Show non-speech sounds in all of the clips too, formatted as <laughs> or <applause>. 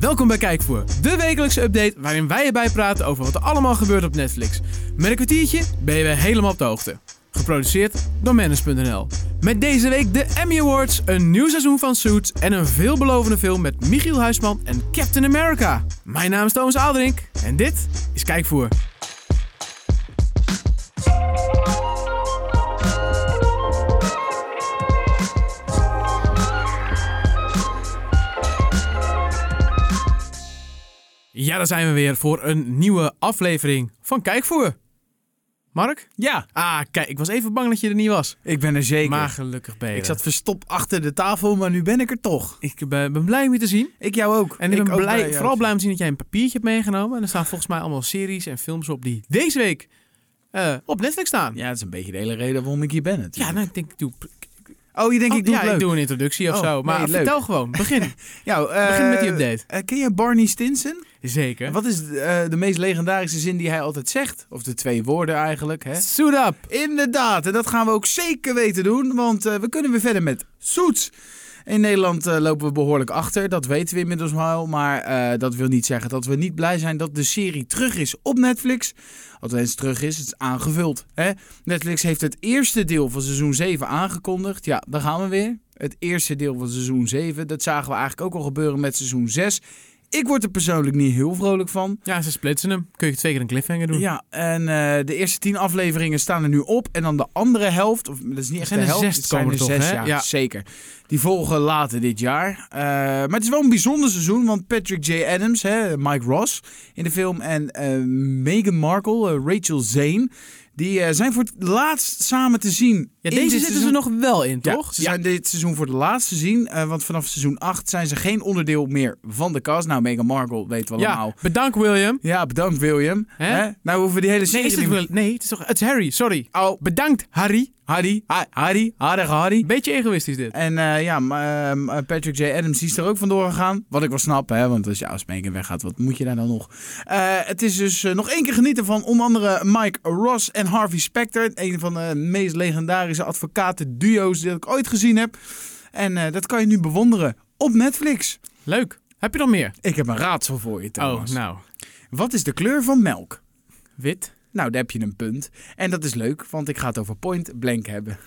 Welkom bij Kijkvoer, de wekelijkse update waarin wij je bijpraten over wat er allemaal gebeurt op Netflix. Met een kwartiertje ben je weer helemaal op de hoogte. Geproduceerd door Manus.nl. Met deze week de Emmy Awards, een nieuw seizoen van Suits en een veelbelovende film met Michiel Huisman en Captain America. Mijn naam is Thomas Aalderink en dit is Kijkvoer. Ja, daar zijn we weer voor een nieuwe aflevering van Kijkvoer. Mark? Ja, Ah, kijk, ik was even bang dat je er niet was. ik ben er zeker. Maar gelukkig ben je ik er. zat verstopt achter de tafel, maar nu ben ik er toch. Ik ben, ben blij om je te zien. Ik jou ook. En ik ben ook blij, jou. vooral blij om te zien dat jij een papiertje hebt meegenomen. En er staan volgens mij allemaal series en films op die deze week eh, op Netflix staan. Ja, Ja, dat is een beetje de hele reden waarom ik hier ben natuurlijk. nou, ik denk, ik doe, oh, je denkt Oh, ik doe ja, het leuk. ik doe een introductie of Oh, zo. nee, Maar leuk. vertel gewoon, <laughs> begin. Ja, eh, Begin met die update. eh, ken je Barney Stinson? Zeker. Wat is eh, de meest legendarische zin die hij altijd zegt? Of de twee woorden eigenlijk, hè? Suit up. Inderdaad, en dat gaan we ook zeker weten doen, want eh, we kunnen weer verder met Soets. In Nederland eh, lopen we behoorlijk achter, dat weten we inmiddels wel. Maar eh, dat wil niet zeggen dat we niet blij zijn dat de serie terug is op Netflix. Althans, terug is, het is aangevuld. Hè? Netflix heeft het eerste deel van seizoen 7 aangekondigd. Ja, daar gaan we weer. Het eerste deel van seizoen 7, dat zagen we eigenlijk ook al gebeuren met seizoen 6. Ik word er persoonlijk niet heel vrolijk van. Ja, ze splitsen hem. Kun je twee keer een cliffhanger doen. Ja, en eh, de eerste tien afleveringen staan er nu op. En dan de andere helft, of dat is niet echt zijn de er helft, zes het zijn komen er er toch, zes, hè? ja, Ja. zeker. Die volgen later dit jaar. Eh, maar het is wel een bijzonder seizoen, want Patrick J. Adams, hè, Mike Ross in de film... en eh, Meghan Markle, eh, Rachel Zane, die eh, zijn voor het laatst samen te zien. Ja, in dit deze zitten seizoen. ze nog wel in, Ja, toch? Ze zijn dit seizoen voor het laatst te zien, eh, want vanaf seizoen 8 zijn ze geen onderdeel meer van de cast. Nou, Meghan Markle weten we allemaal. ja, bedankt William. Ja, bedankt William. Hè? Hè? Nou hoeven we die hele Nee, serie is het niet meer- Wil- nee, het is toch... Het is Harry, sorry. Oh, Bedankt, Harry. Hardy, Ha- Hardy, aardige Hardy. Beetje egoïstisch dit. En eh, ja, maar, ehm, eh, Patrick J. Adams die is er ook vandoor gegaan. Wat ik wel snap, hè, want als je als Megan weggaat, wat moet je daar dan nog? Eh, het is dus eh, nog één keer genieten van onder andere Mike Ross en Harvey Specter. Een van de meest legendarische advocaten-duo's die ik ooit gezien heb. En eh, dat kan je nu bewonderen op Netflix. Leuk. Heb je nog meer? Ik heb een raadsel voor je, Thomas. Oh, nou. Wat is de kleur van melk? Wit. Nou, daar heb je een punt. En dat is leuk, want ik ga het over point blank hebben.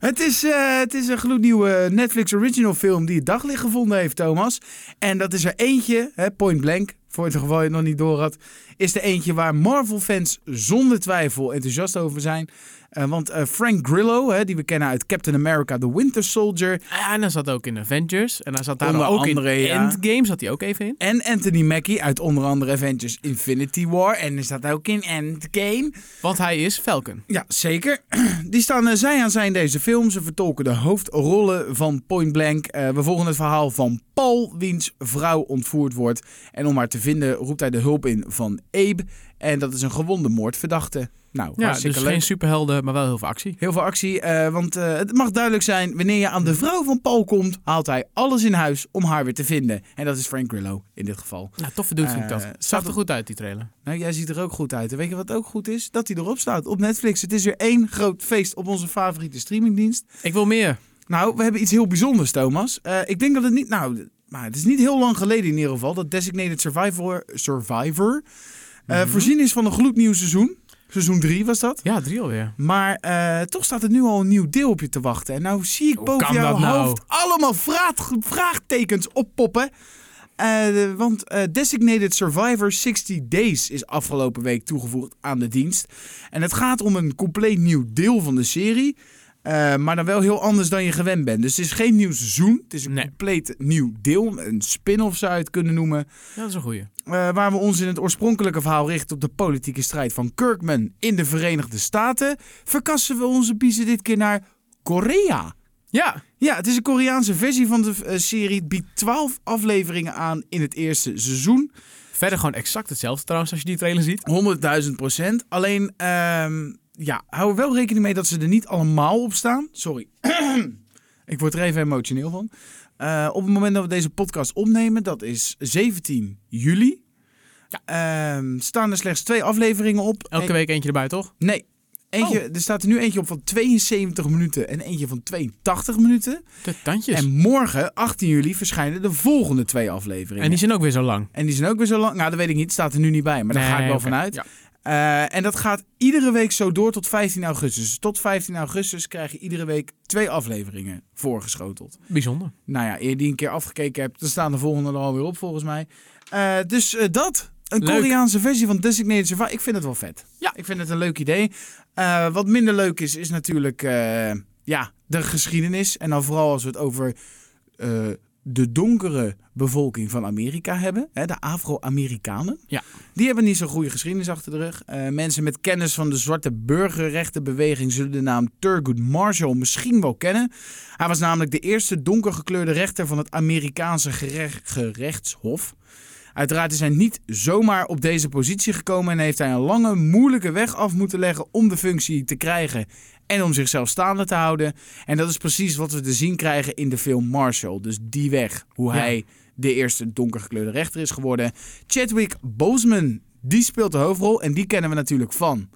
het, is, eh, het is een gloednieuwe Netflix original film die het daglicht gevonden heeft, Thomas. En dat is er eentje, hè, point blank, voor het geval je het nog niet door had, is er eentje waar Marvel-fans zonder twijfel enthousiast over zijn. Eh, want eh, Frank Grillo, hè, die we kennen uit Captain America The Winter Soldier, Ah, En hij zat ook in Avengers. En hij zat daar Onder ook andere, in ja. Endgame. Zat hij ook even in. en Anthony Mackie uit onder andere Avengers Infinity War. En is dat ook in Endgame. Want hij is Falcon. Ja, zeker. <clears throat> Die staan eh, zij aan zij in deze film. Ze vertolken de hoofdrollen van Point Blank. Eh, we volgen het verhaal van Paul, wiens vrouw ontvoerd wordt. En om haar te vinden roept hij de hulp in van Abe. En dat is een gewonde moordverdachte. Nou, Ja, dus hartstikke leuk. geen superhelden, maar wel heel veel actie. Heel veel actie, eh, want eh, het mag duidelijk zijn... wanneer je aan de vrouw van Paul komt, haalt hij alles in huis om haar weer te vinden. En dat is Frank Grillo in dit geval. Nou, toffe dude vind ik dat. Eh, Zag staat er op- goed uit, die trailer. Nou, jij ziet er ook goed uit. En weet je wat ook goed is? Dat hij erop staat op Netflix. Het is weer één groot feest op onze favoriete streamingdienst. Ik wil meer. Nou, we hebben iets heel bijzonders, Thomas. Eh, ik denk dat het niet. Nou, d- maar het is niet heel lang geleden in ieder geval dat Designated Survivor, Survivor eh, voorzien is van een gloednieuw seizoen. Seizoen 3 was dat. Ja, drie alweer. Maar eh, toch staat er nu al een nieuw deel op je te wachten. En nou zie ik Hoe boven kan jouw dat nou? hoofd allemaal vraag- vraagtekens oppoppen. Eh, want eh, Designated Survivor 60 Days is afgelopen week toegevoegd aan de dienst. En het gaat om een compleet nieuw deel van de serie. eh, maar dan wel heel anders dan je gewend bent. Dus het is geen nieuw seizoen. Het is een Nee. compleet nieuw deel. Een spin-off zou je het kunnen noemen. Ja, dat is een goeie. Eh, waar we ons in het oorspronkelijke verhaal richten op de politieke strijd van Kirkman in de Verenigde Staten, verkassen we onze biezen dit keer naar Korea. Ja, Ja, het is een Koreaanse versie van de eh, serie. Het biedt 12 afleveringen aan in het eerste seizoen. verder gewoon exact hetzelfde trouwens als je die trailer ziet. 100.000 procent. Alleen, ehm, ja, hou er wel rekening mee dat ze er niet allemaal op staan. Sorry. <clears throat> Ik word er even emotioneel van. Eh, op het moment dat we deze podcast opnemen, dat is 17 juli. Ehm, staan er slechts twee afleveringen op. Elke En- week Oh. eentje erbij, toch? Nee. Eentje, Er staat er nu eentje op van 72 minuten en eentje van 82 minuten. De tandjes. En, En morgen, 18 juli, verschijnen de volgende twee afleveringen. die zijn ook weer zo lang. En die zijn ook weer zo lang. Nou, dat weet ik niet. Staat er nu niet bij. Maar daar ga ik Nee, wel oké. vanuit. Ja. Eh, en dat gaat iedere week zo door tot 15 augustus. Dus tot 15 augustus krijg je iedere week twee afleveringen voorgeschoteld. Bijzonder. Nou ja, eer die een keer afgekeken hebt, dan staan de volgende er alweer op volgens mij. Eh, dus eh, dat. Een Leuk. Koreaanse versie van Designated Survivor. Ik vind het wel vet. Ja. Ik vind het een leuk idee. Eh, wat minder leuk is, is natuurlijk eh, ja, de geschiedenis. En dan vooral als we het over eh, de donkere bevolking van Amerika hebben. Hè, de Afro-Amerikanen. Ja. Die hebben niet zo'n goede geschiedenis achter de rug. Eh, mensen met kennis van de zwarte burgerrechtenbeweging zullen de naam Thurgood Marshall misschien wel kennen. Hij was namelijk de eerste donkergekleurde rechter van het Amerikaanse gerech- gerechtshof. Uiteraard is hij niet zomaar op deze positie gekomen en heeft hij een lange, moeilijke weg af moeten leggen om de functie te krijgen en om zichzelf staande te houden. En dat is precies wat we te zien krijgen in de film Marshall. Dus die weg, hoe Ja. hij de eerste donkergekleurde rechter is geworden. Chadwick Boseman, die speelt de hoofdrol en die kennen we natuurlijk van.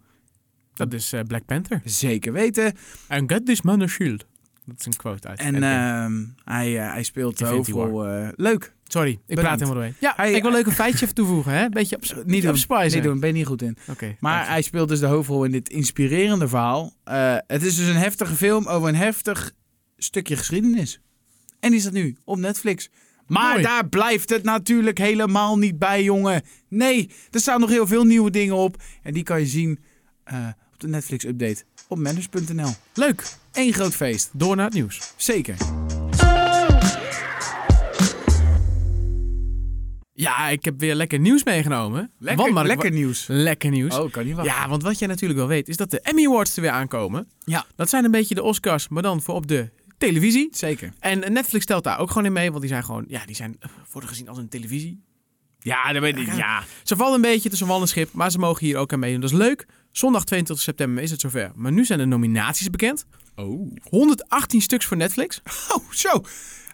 Dat is eh, Black Panther. Zeker weten. And get this man a shield. Dat is een quote uit. En Endgame. ehm, hij, eh, hij speelt de Ik vind die hoofdrol. eh, leuk. Sorry, ik praat bedankt. helemaal doorheen. Ja, Hij- ik wil leuk een feitje even toevoegen. Hè? Beetje op, Niet eh, niet doen. op spice. Nee, doen, ben je niet goed in. Oké. Maar hij speelt dus de hoofdrol in dit inspirerende verhaal. Eh, het is dus een heftige film over een heftig stukje geschiedenis. En die staat nu op Netflix. Maar Mooi. daar blijft het natuurlijk helemaal niet bij, jongen. Nee, er staan nog heel veel nieuwe dingen op. En die kan je zien eh, op de Netflix-update op manners.nl. eh, Leuk. Eén groot feest, Door naar het nieuws. zeker. Ja, ik heb weer lekker nieuws meegenomen. Want, Mark, lekker nieuws. wa- Lekker nieuws. Oh, kan niet wachten. Ja, want wat jij natuurlijk wel weet is dat de Emmy Awards er weer aankomen. Ja. Dat zijn een beetje de Oscars, maar dan voor op de televisie. Zeker. En Netflix stelt daar ook gewoon in mee, want die zijn gewoon, ja, die zijn eh, worden gezien als een televisie. Ja, dat weet ik. Ja. Ze vallen een beetje tussen wal en schip, maar ze mogen hier ook aan meedoen. Dat is leuk. Zondag 22 september is het zover. Maar nu zijn de nominaties bekend. Oh. 118 stuks voor Netflix. Oh, zo.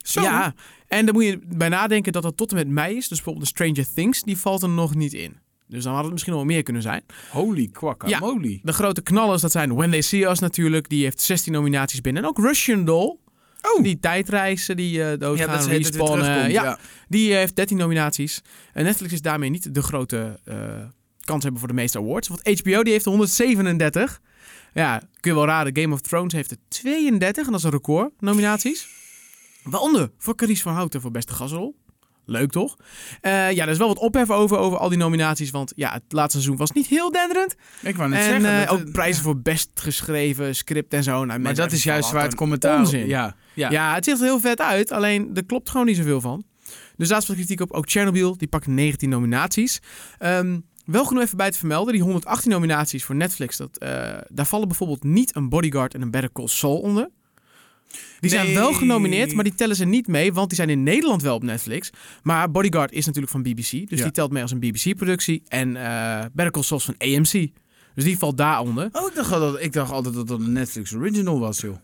Zo. Ja, en dan moet je bij nadenken dat dat tot en met mei is. Dus bijvoorbeeld de Stranger Things, die valt er nog niet in. Dus dan had het misschien nog wel meer kunnen zijn. Holy guacamole. De grote knallers, dat zijn When They See Us natuurlijk. Die heeft 16 nominaties binnen. En ook Russian Doll. Oh. Die tijdreizen, die eh Ja, doodgaan, dat ze- dat het weer respawnen. terugkomt, Ja, ja. Die eh, heeft 13 nominaties. En Netflix is daarmee niet de grote eh, kans hebben voor de meeste awards. Want HBO die heeft er 137. Ja, kun je wel raden. Game of Thrones heeft er 32. En dat is een record nominaties. Waaronder voor Carice van Houten voor beste gasrol. Leuk toch? Eh, ja, er is wel wat ophef over, over al die nominaties. Want ja, het laatste seizoen was niet heel denderend. Ik wou net En zeggen. eh, dat ook het- prijzen voor best geschreven script en zo. Nou, Maar mensen dat is hebben juist van, waar wat het commentaar onzin. Ja, ja. Ja. het ziet er heel vet uit, alleen er klopt gewoon niet zoveel van. Dus daar is wat kritiek op. Ook Chernobyl, die pakt 19 nominaties. Ehm, wel genoeg even bij te vermelden, die 118 nominaties voor Netflix, dat, eh, daar vallen bijvoorbeeld niet een Bodyguard en een Better Call Saul onder. Die zijn Nee. wel genomineerd, maar die tellen ze niet mee, want die zijn in Nederland wel op Netflix. Maar Bodyguard is natuurlijk van BBC, dus Ja. die telt mee als een BBC-productie. En eh Better Call Saul is van AMC, dus die valt daaronder. Oh, ik dacht, al dat, ik dacht altijd dat dat een Netflix original was, joh.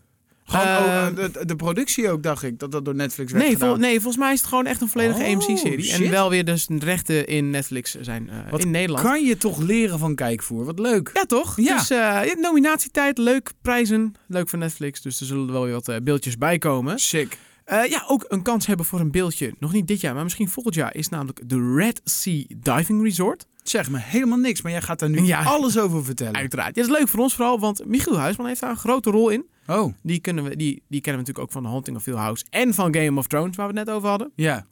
Gewoon, Eh, oh, eh, de, de productie ook, dacht ik, dat dat door Netflix werd Nee, vol- gedaan. nee, volgens mij is het gewoon echt een volledige Oh, AMC-serie. En shit. wel weer dus rechten in Netflix zijn eh, Wat in Nederland. Kan je toch leren van kijkvoer? Wat leuk. Ja, toch? Ja. Dus eh, ja, nominatietijd, leuk, prijzen, leuk voor Netflix. Dus er zullen wel weer wat eh, beeldjes bij komen. Sick. Eh, ja, ook een kans hebben voor een beeldje. Nog niet dit jaar, maar misschien volgend jaar is namelijk de Red Sea Diving Resort. Zeg me helemaal niks, maar jij gaat daar nu Ja. alles over vertellen. Uiteraard. Ja, dat is leuk voor ons vooral, want Michiel Huisman heeft daar een grote rol in. Oh, Die, kunnen we, die, die kennen we natuurlijk ook van The Haunting of Hill House en van Game of Thrones, waar we het net over hadden. ja.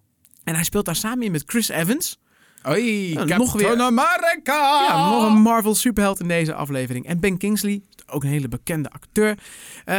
En hij speelt daar samen in met Chris Evans. Oei, Nou, nog nog weer- weer. America! Ja, nog een Marvel superheld in deze aflevering. En Ben Kingsley, ook een hele bekende acteur. Eh,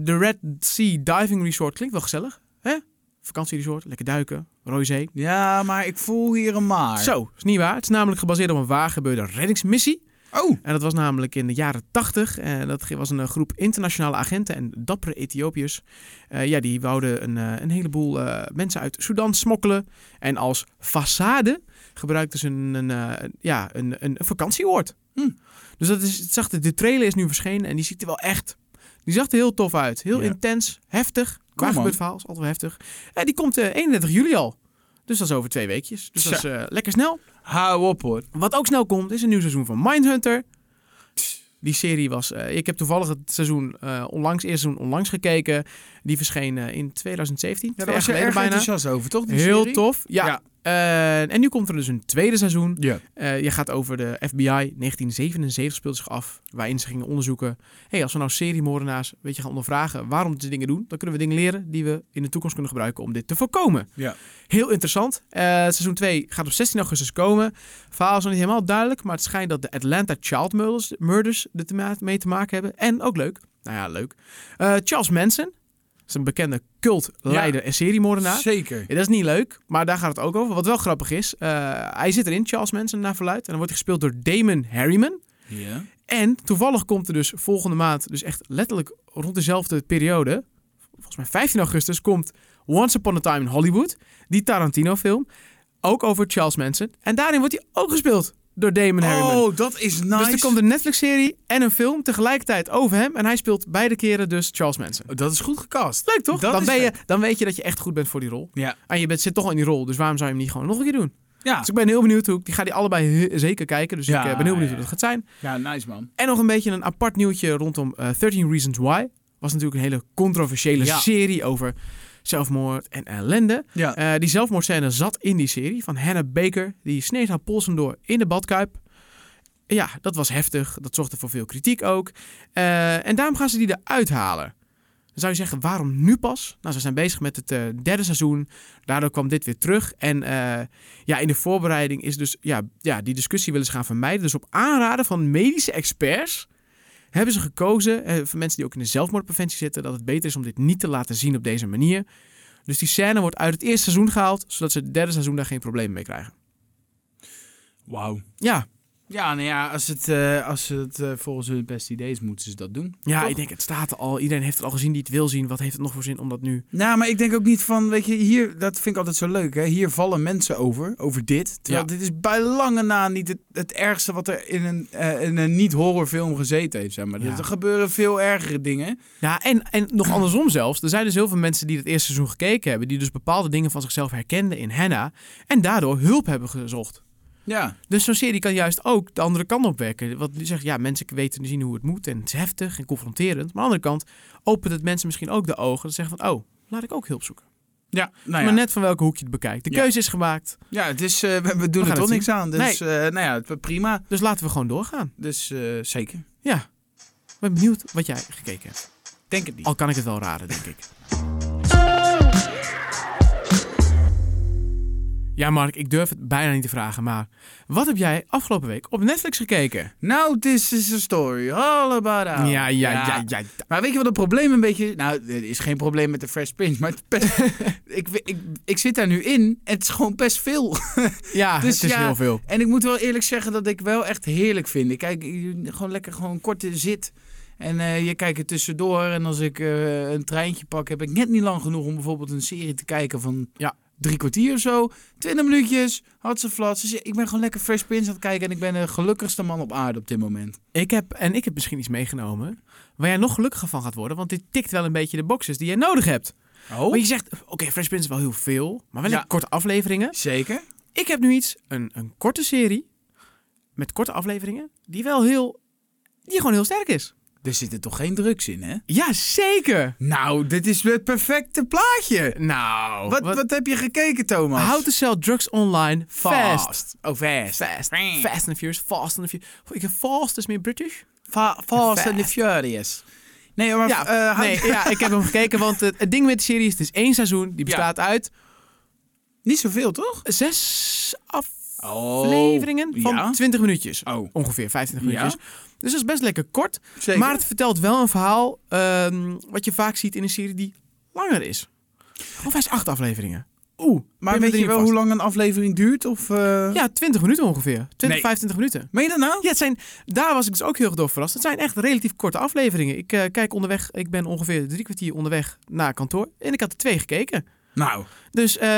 De Red Sea Diving Resort klinkt wel gezellig. Hè? Vakantieresort, lekker duiken, rode zee. Ja, maar ik voel hier een maar. Zo, is niet waar. Het is namelijk gebaseerd op een waargebeurde reddingsmissie. Oh, En dat was namelijk in de jaren 80. En dat was een eh, groep internationale agenten en dappere Ethiopiërs. Eh, ja, die wouden een, eh, een heleboel eh, mensen uit Sudan smokkelen. En als façade gebruikten ze een, een, eh, ja, een, een vakantieoord. Hm. Dus dat is, het zag, er- de trailer is nu verschenen en die ziet er wel echt... Die zag er heel tof uit. Heel Ja. intens, heftig. Waar man. gebeurt verhaal, is altijd wel heftig. En die komt eh, 31 juli al. Dus dat is over twee weekjes. Dus dat is eh, lekker snel. hou op hoor. Wat ook snel komt, is een nieuw seizoen van Mindhunter. Die serie was... eh, ik heb toevallig het seizoen eh, onlangs, eerste seizoen onlangs gekeken. Die verscheen eh, in 2017. Ja, twee daar was je jaar erg geleden bijna. enthousiast over, toch? die Heel serie? tof. Ja. Ja. Eh, en nu komt er dus een tweede seizoen. Ja. Eh, je gaat over de FBI. 1977 speelt zich af. Waarin ze gingen onderzoeken. hey, als we nou seriemoordenaars weet je, gaan ondervragen waarom ze dingen doen. Dan kunnen we dingen leren die we in de toekomst kunnen gebruiken om dit te voorkomen. Ja. Heel interessant. Eh, seizoen 2 gaat op 16 augustus komen. Verhaal is nog niet helemaal duidelijk. Maar het schijnt dat de Atlanta Child Murders, murders er te ma- mee te maken hebben. En ook leuk. Nou ja, leuk. Eh, Charles Manson. Dat is een bekende cultleider en seriemoordenaar. Zeker. Ja, dat is niet leuk, maar daar gaat het ook over. Wat wel grappig is, eh, hij zit erin, Charles Manson, naar verluid. En dan wordt hij gespeeld door Damon Harriman. Ja. En toevallig komt er dus volgende maand, dus echt letterlijk rond dezelfde periode, volgens mij 15 augustus, komt Once Upon a Time in Hollywood, die Tarantino-film, ook over Charles Manson. En daarin wordt hij ook gespeeld door Damon Harriman. Oh, dat is nice. Dus er komt een Netflix-serie en een film tegelijkertijd over hem. En hij speelt beide keren dus Charles Manson. Dat is goed gecast. Leuk toch? Dat Dan, is ben je, vet. dan weet je dat je echt goed bent voor die rol. Ja. En je bent, zit toch al in die rol, dus waarom zou je hem niet gewoon nog een keer Ah. doen? Ja. Dus ik ben heel benieuwd hoe ik die ga die allebei he- zeker kijken. Dus Ja, ik eh, ben heel benieuwd ja, hoe dat gaat zijn. Ja, nice man. En nog een beetje een apart nieuwtje rondom eh 13 Reasons Why. Was natuurlijk een hele controversiële Ja. serie over zelfmoord en ellende. Ja. Eh, die zelfmoordscène zat in die serie van Hannah Baker. Die sneed haar polsen door in de badkuip. Ja, dat was heftig. Dat zorgde voor veel kritiek ook. Eh, en daarom gaan ze die eruit halen. Dan zou je zeggen, waarom nu pas? Nou, ze zijn bezig met het eh, derde seizoen. Daardoor kwam dit weer terug. En eh, ja, in de voorbereiding is dus... Ja, ja, die discussie willen ze gaan vermijden. Dus op aanraden van medische experts... hebben ze gekozen, eh, voor mensen die ook in de zelfmoordpreventie zitten... dat het beter is om dit niet te laten zien op deze manier. Dus die scène wordt uit het eerste seizoen gehaald... zodat ze het derde seizoen daar geen problemen mee krijgen. Wauw. Ja, Ja, nou ja, als het, eh, als het eh, volgens hun beste idee is, moeten ze dat doen. ja Toch? ik denk, het staat er al. Iedereen heeft het al gezien die het wil zien. Wat heeft het nog voor zin om dat nu... Nou, maar ik denk ook niet van, weet je, hier, dat vind ik altijd zo leuk, hè. Hier vallen mensen over, over dit. Terwijl Ja. dit is bij lange na niet het, het ergste wat er in een, eh, in een niet-horrorfilm gezeten heeft, zeg maar. Ja. Er gebeuren veel ergere dingen. Ja, en, en nog andersom zelfs. Er zijn dus heel veel mensen die het eerste seizoen gekeken hebben... die dus bepaalde dingen van zichzelf herkenden in Hannah... en daardoor hulp hebben gezocht. Ja. Dus zo'n serie kan juist ook de andere kant opwerken. Want die zegt, ja, mensen weten zien hoe het moet... en het is heftig en confronterend. Maar aan de andere kant opent het mensen misschien ook de ogen... en zeggen van, oh, laat ik ook hulp zoeken. Ja, nou ja. Maar net van welke hoek je het bekijkt. De Ja. keuze is gemaakt, ja het is, eh, we, we doen gaan er toch het niks aan. Dus, eh, nou ja, het- prima. dus laten we gewoon doorgaan. Dus eh, zeker. Ja, ik ben benieuwd wat jij gekeken hebt. Denk het niet. Al kan ik het wel raden, denk ik. Ja, Mark, ik durf het bijna niet te vragen, maar wat heb jij afgelopen week op Netflix gekeken? Nou, this is a story all about us. Ja, ja, ja, ja. Maar weet je wat het probleem een beetje... Nou, er is geen probleem met de Fresh Prince, maar het is best- <laughs> ik, ik, ik zit daar nu in en het is gewoon best veel. Ja, Dus het is ja, heel veel. En ik moet wel eerlijk zeggen dat ik wel echt heerlijk vind. Ik kijk eh, gewoon lekker gewoon een korte zit. En eh, je kijkt er tussendoor. En als ik eh, een treintje pak, heb ik net niet lang genoeg om bijvoorbeeld een serie te kijken van Ja. drie kwartier of zo. Twintig minuutjes, had ze flats. Dus ik ben gewoon lekker Fresh Prince aan het kijken. En ik ben de gelukkigste man op aarde op dit moment. Ik heb, en ik heb misschien iets meegenomen waar jij nog gelukkiger van gaat worden, want dit tikt wel een beetje de boxes die jij nodig hebt. Oh? Want je zegt, oké, Fresh Prince is wel heel veel, maar wel Ja. in korte afleveringen. Zeker. Ik heb nu iets, een, een korte serie met korte afleveringen, die wel heel, die gewoon heel sterk is. Er zitten toch geen drugs in, hè? Ja, zeker. Nou, dit is het perfecte plaatje. Nou, Wat, wat, heb je gekeken, Thomas? How to sell drugs online fast. Fast. Oh, fast. Fast, Bang. and the Furious. Fast and the Furious. Ik heb Fast is meer British. Fa- fast and the Furious. Nee, maar... Ja, eh, hou- nee, ja, ik heb hem gekeken, want het, het ding met de serie is, het is één seizoen. Die bestaat uit Niet zoveel, toch? zes Oh. afleveringen van ja. 20 minuutjes. Oh. Ongeveer 25 Ja. minuutjes. Dus dat is best lekker kort. Zeker. Maar het vertelt wel een verhaal ehm, wat je vaak ziet in een serie die langer is. Of hij is acht afleveringen. Oeh, Maar pin me weet je erin wel vast. hoe lang een aflevering duurt? Of, eh? Ja, 20 minuten ongeveer. 20, Nee. 25 minuten. Meen je dat nou? Ja, het zijn, daar was ik dus ook heel erg door verrast. Het zijn echt relatief korte afleveringen. Ik eh, kijk onderweg, ik ben ongeveer drie kwartier onderweg naar kantoor. En ik had er twee gekeken. Nou. Dus, eh,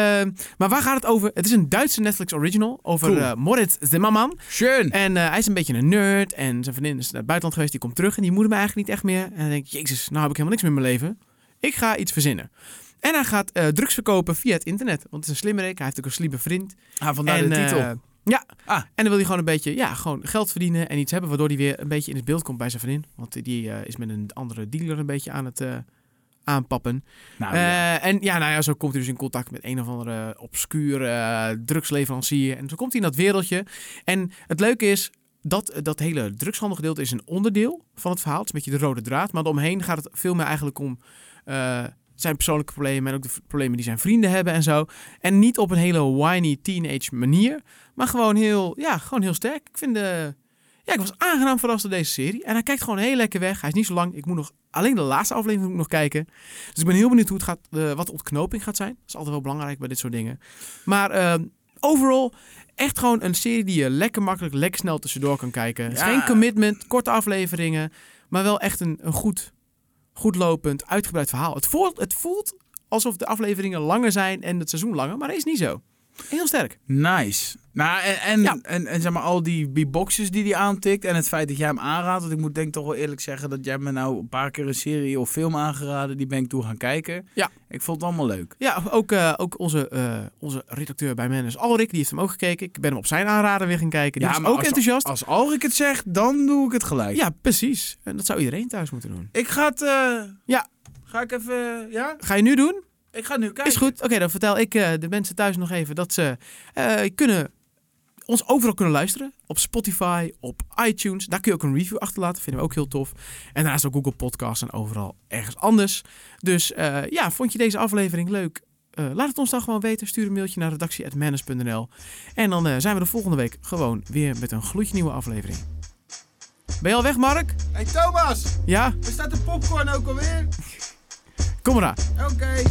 maar waar gaat het over? Het is een Duitse Netflix original over Cool. eh, Moritz Zimmerman. Schön. En eh, hij is een beetje een nerd. En zijn vriendin is naar het buitenland geweest. Die komt terug en die moet hem eigenlijk niet echt meer. En dan denk ik, jezus, nou heb ik helemaal niks meer in mijn leven. Ik ga iets verzinnen. En hij gaat eh, drugs verkopen via het internet. Want het is een slimmerik. Hij heeft ook een slimme vriend. Ah, vandaar en, de titel. eh, Ja. Ah. En dan wil hij gewoon een beetje ja, gewoon geld verdienen en iets hebben, waardoor hij weer een beetje in het beeld komt bij zijn vriendin. Want die eh, is met een andere dealer een beetje aan het eh, aanpappen. Nou, Eh, ja. En ja, nou ja, zo komt hij dus in contact met een of andere obscure eh, drugsleverancier. En zo komt hij in dat wereldje. En het leuke is, dat, dat hele drugshandelgedeelte is een onderdeel van het verhaal. Het is een beetje de rode draad. Maar omheen gaat het veel meer eigenlijk om eh, zijn persoonlijke problemen... en ook de v- problemen die zijn vrienden hebben en zo. En niet op een hele whiny teenage manier. Maar gewoon heel, ja, gewoon heel sterk. Ik vind... eh, de ja, ik was aangenaam verrast door deze serie. En hij kijkt gewoon heel lekker weg. Hij is niet zo lang. Ik moet nog alleen de laatste aflevering moet ik nog kijken. Dus ik ben heel benieuwd hoe het gaat, eh, wat de ontknoping gaat zijn. Dat is altijd wel belangrijk bij dit soort dingen. Maar ehm, overal echt gewoon een serie die je lekker makkelijk, lekker snel tussendoor kan kijken. Het is Ja. Geen commitment, korte afleveringen. Maar wel echt een, een goed, goed lopend, uitgebreid verhaal. Het voelt, het voelt alsof de afleveringen langer zijn en het seizoen langer. Maar dat is niet zo. Heel sterk. Nice. Nou, en, en, Ja. en, en zeg maar, al die b-boxes die hij aantikt en het feit dat jij hem aanraadt. Want ik moet denk ik toch wel eerlijk zeggen dat jij me nou een paar keer een serie of film aangeraden. Die ben ik toe gaan kijken. Ja. Ik vond het allemaal leuk. Ja, ook, eh, ook onze, eh, onze redacteur bij Manus Alrik, die heeft hem ook gekeken. Ik ben hem op zijn aanrader weer gaan kijken. Die Ja, was maar ook als- enthousiast. Als Alrik het zegt, dan doe ik het gelijk. Ja, precies. En dat zou iedereen thuis moeten doen. Ik ga het... eh, Ja. Ga ik even... Ja? Ga je nu doen? Ik ga nu kijken. Is goed. Oké, dan vertel ik eh, de mensen thuis nog even dat ze eh, kunnen, ons overal kunnen luisteren. Op Spotify, op iTunes. Daar kun je ook een review achterlaten. Vinden we ook heel tof. En daarnaast ook Google Podcasts en overal ergens anders. Dus eh, ja, vond je deze aflevering leuk? Eh, laat het ons dan gewoon weten. Stuur een mailtje naar redactie.manus.nl. En dan eh, zijn we de volgende week gewoon weer met een gloedje nieuwe aflevering. Ben je al weg, Mark? Hey Thomas, Ja? waar staat de popcorn ook alweer? Kom maar aan. Oké.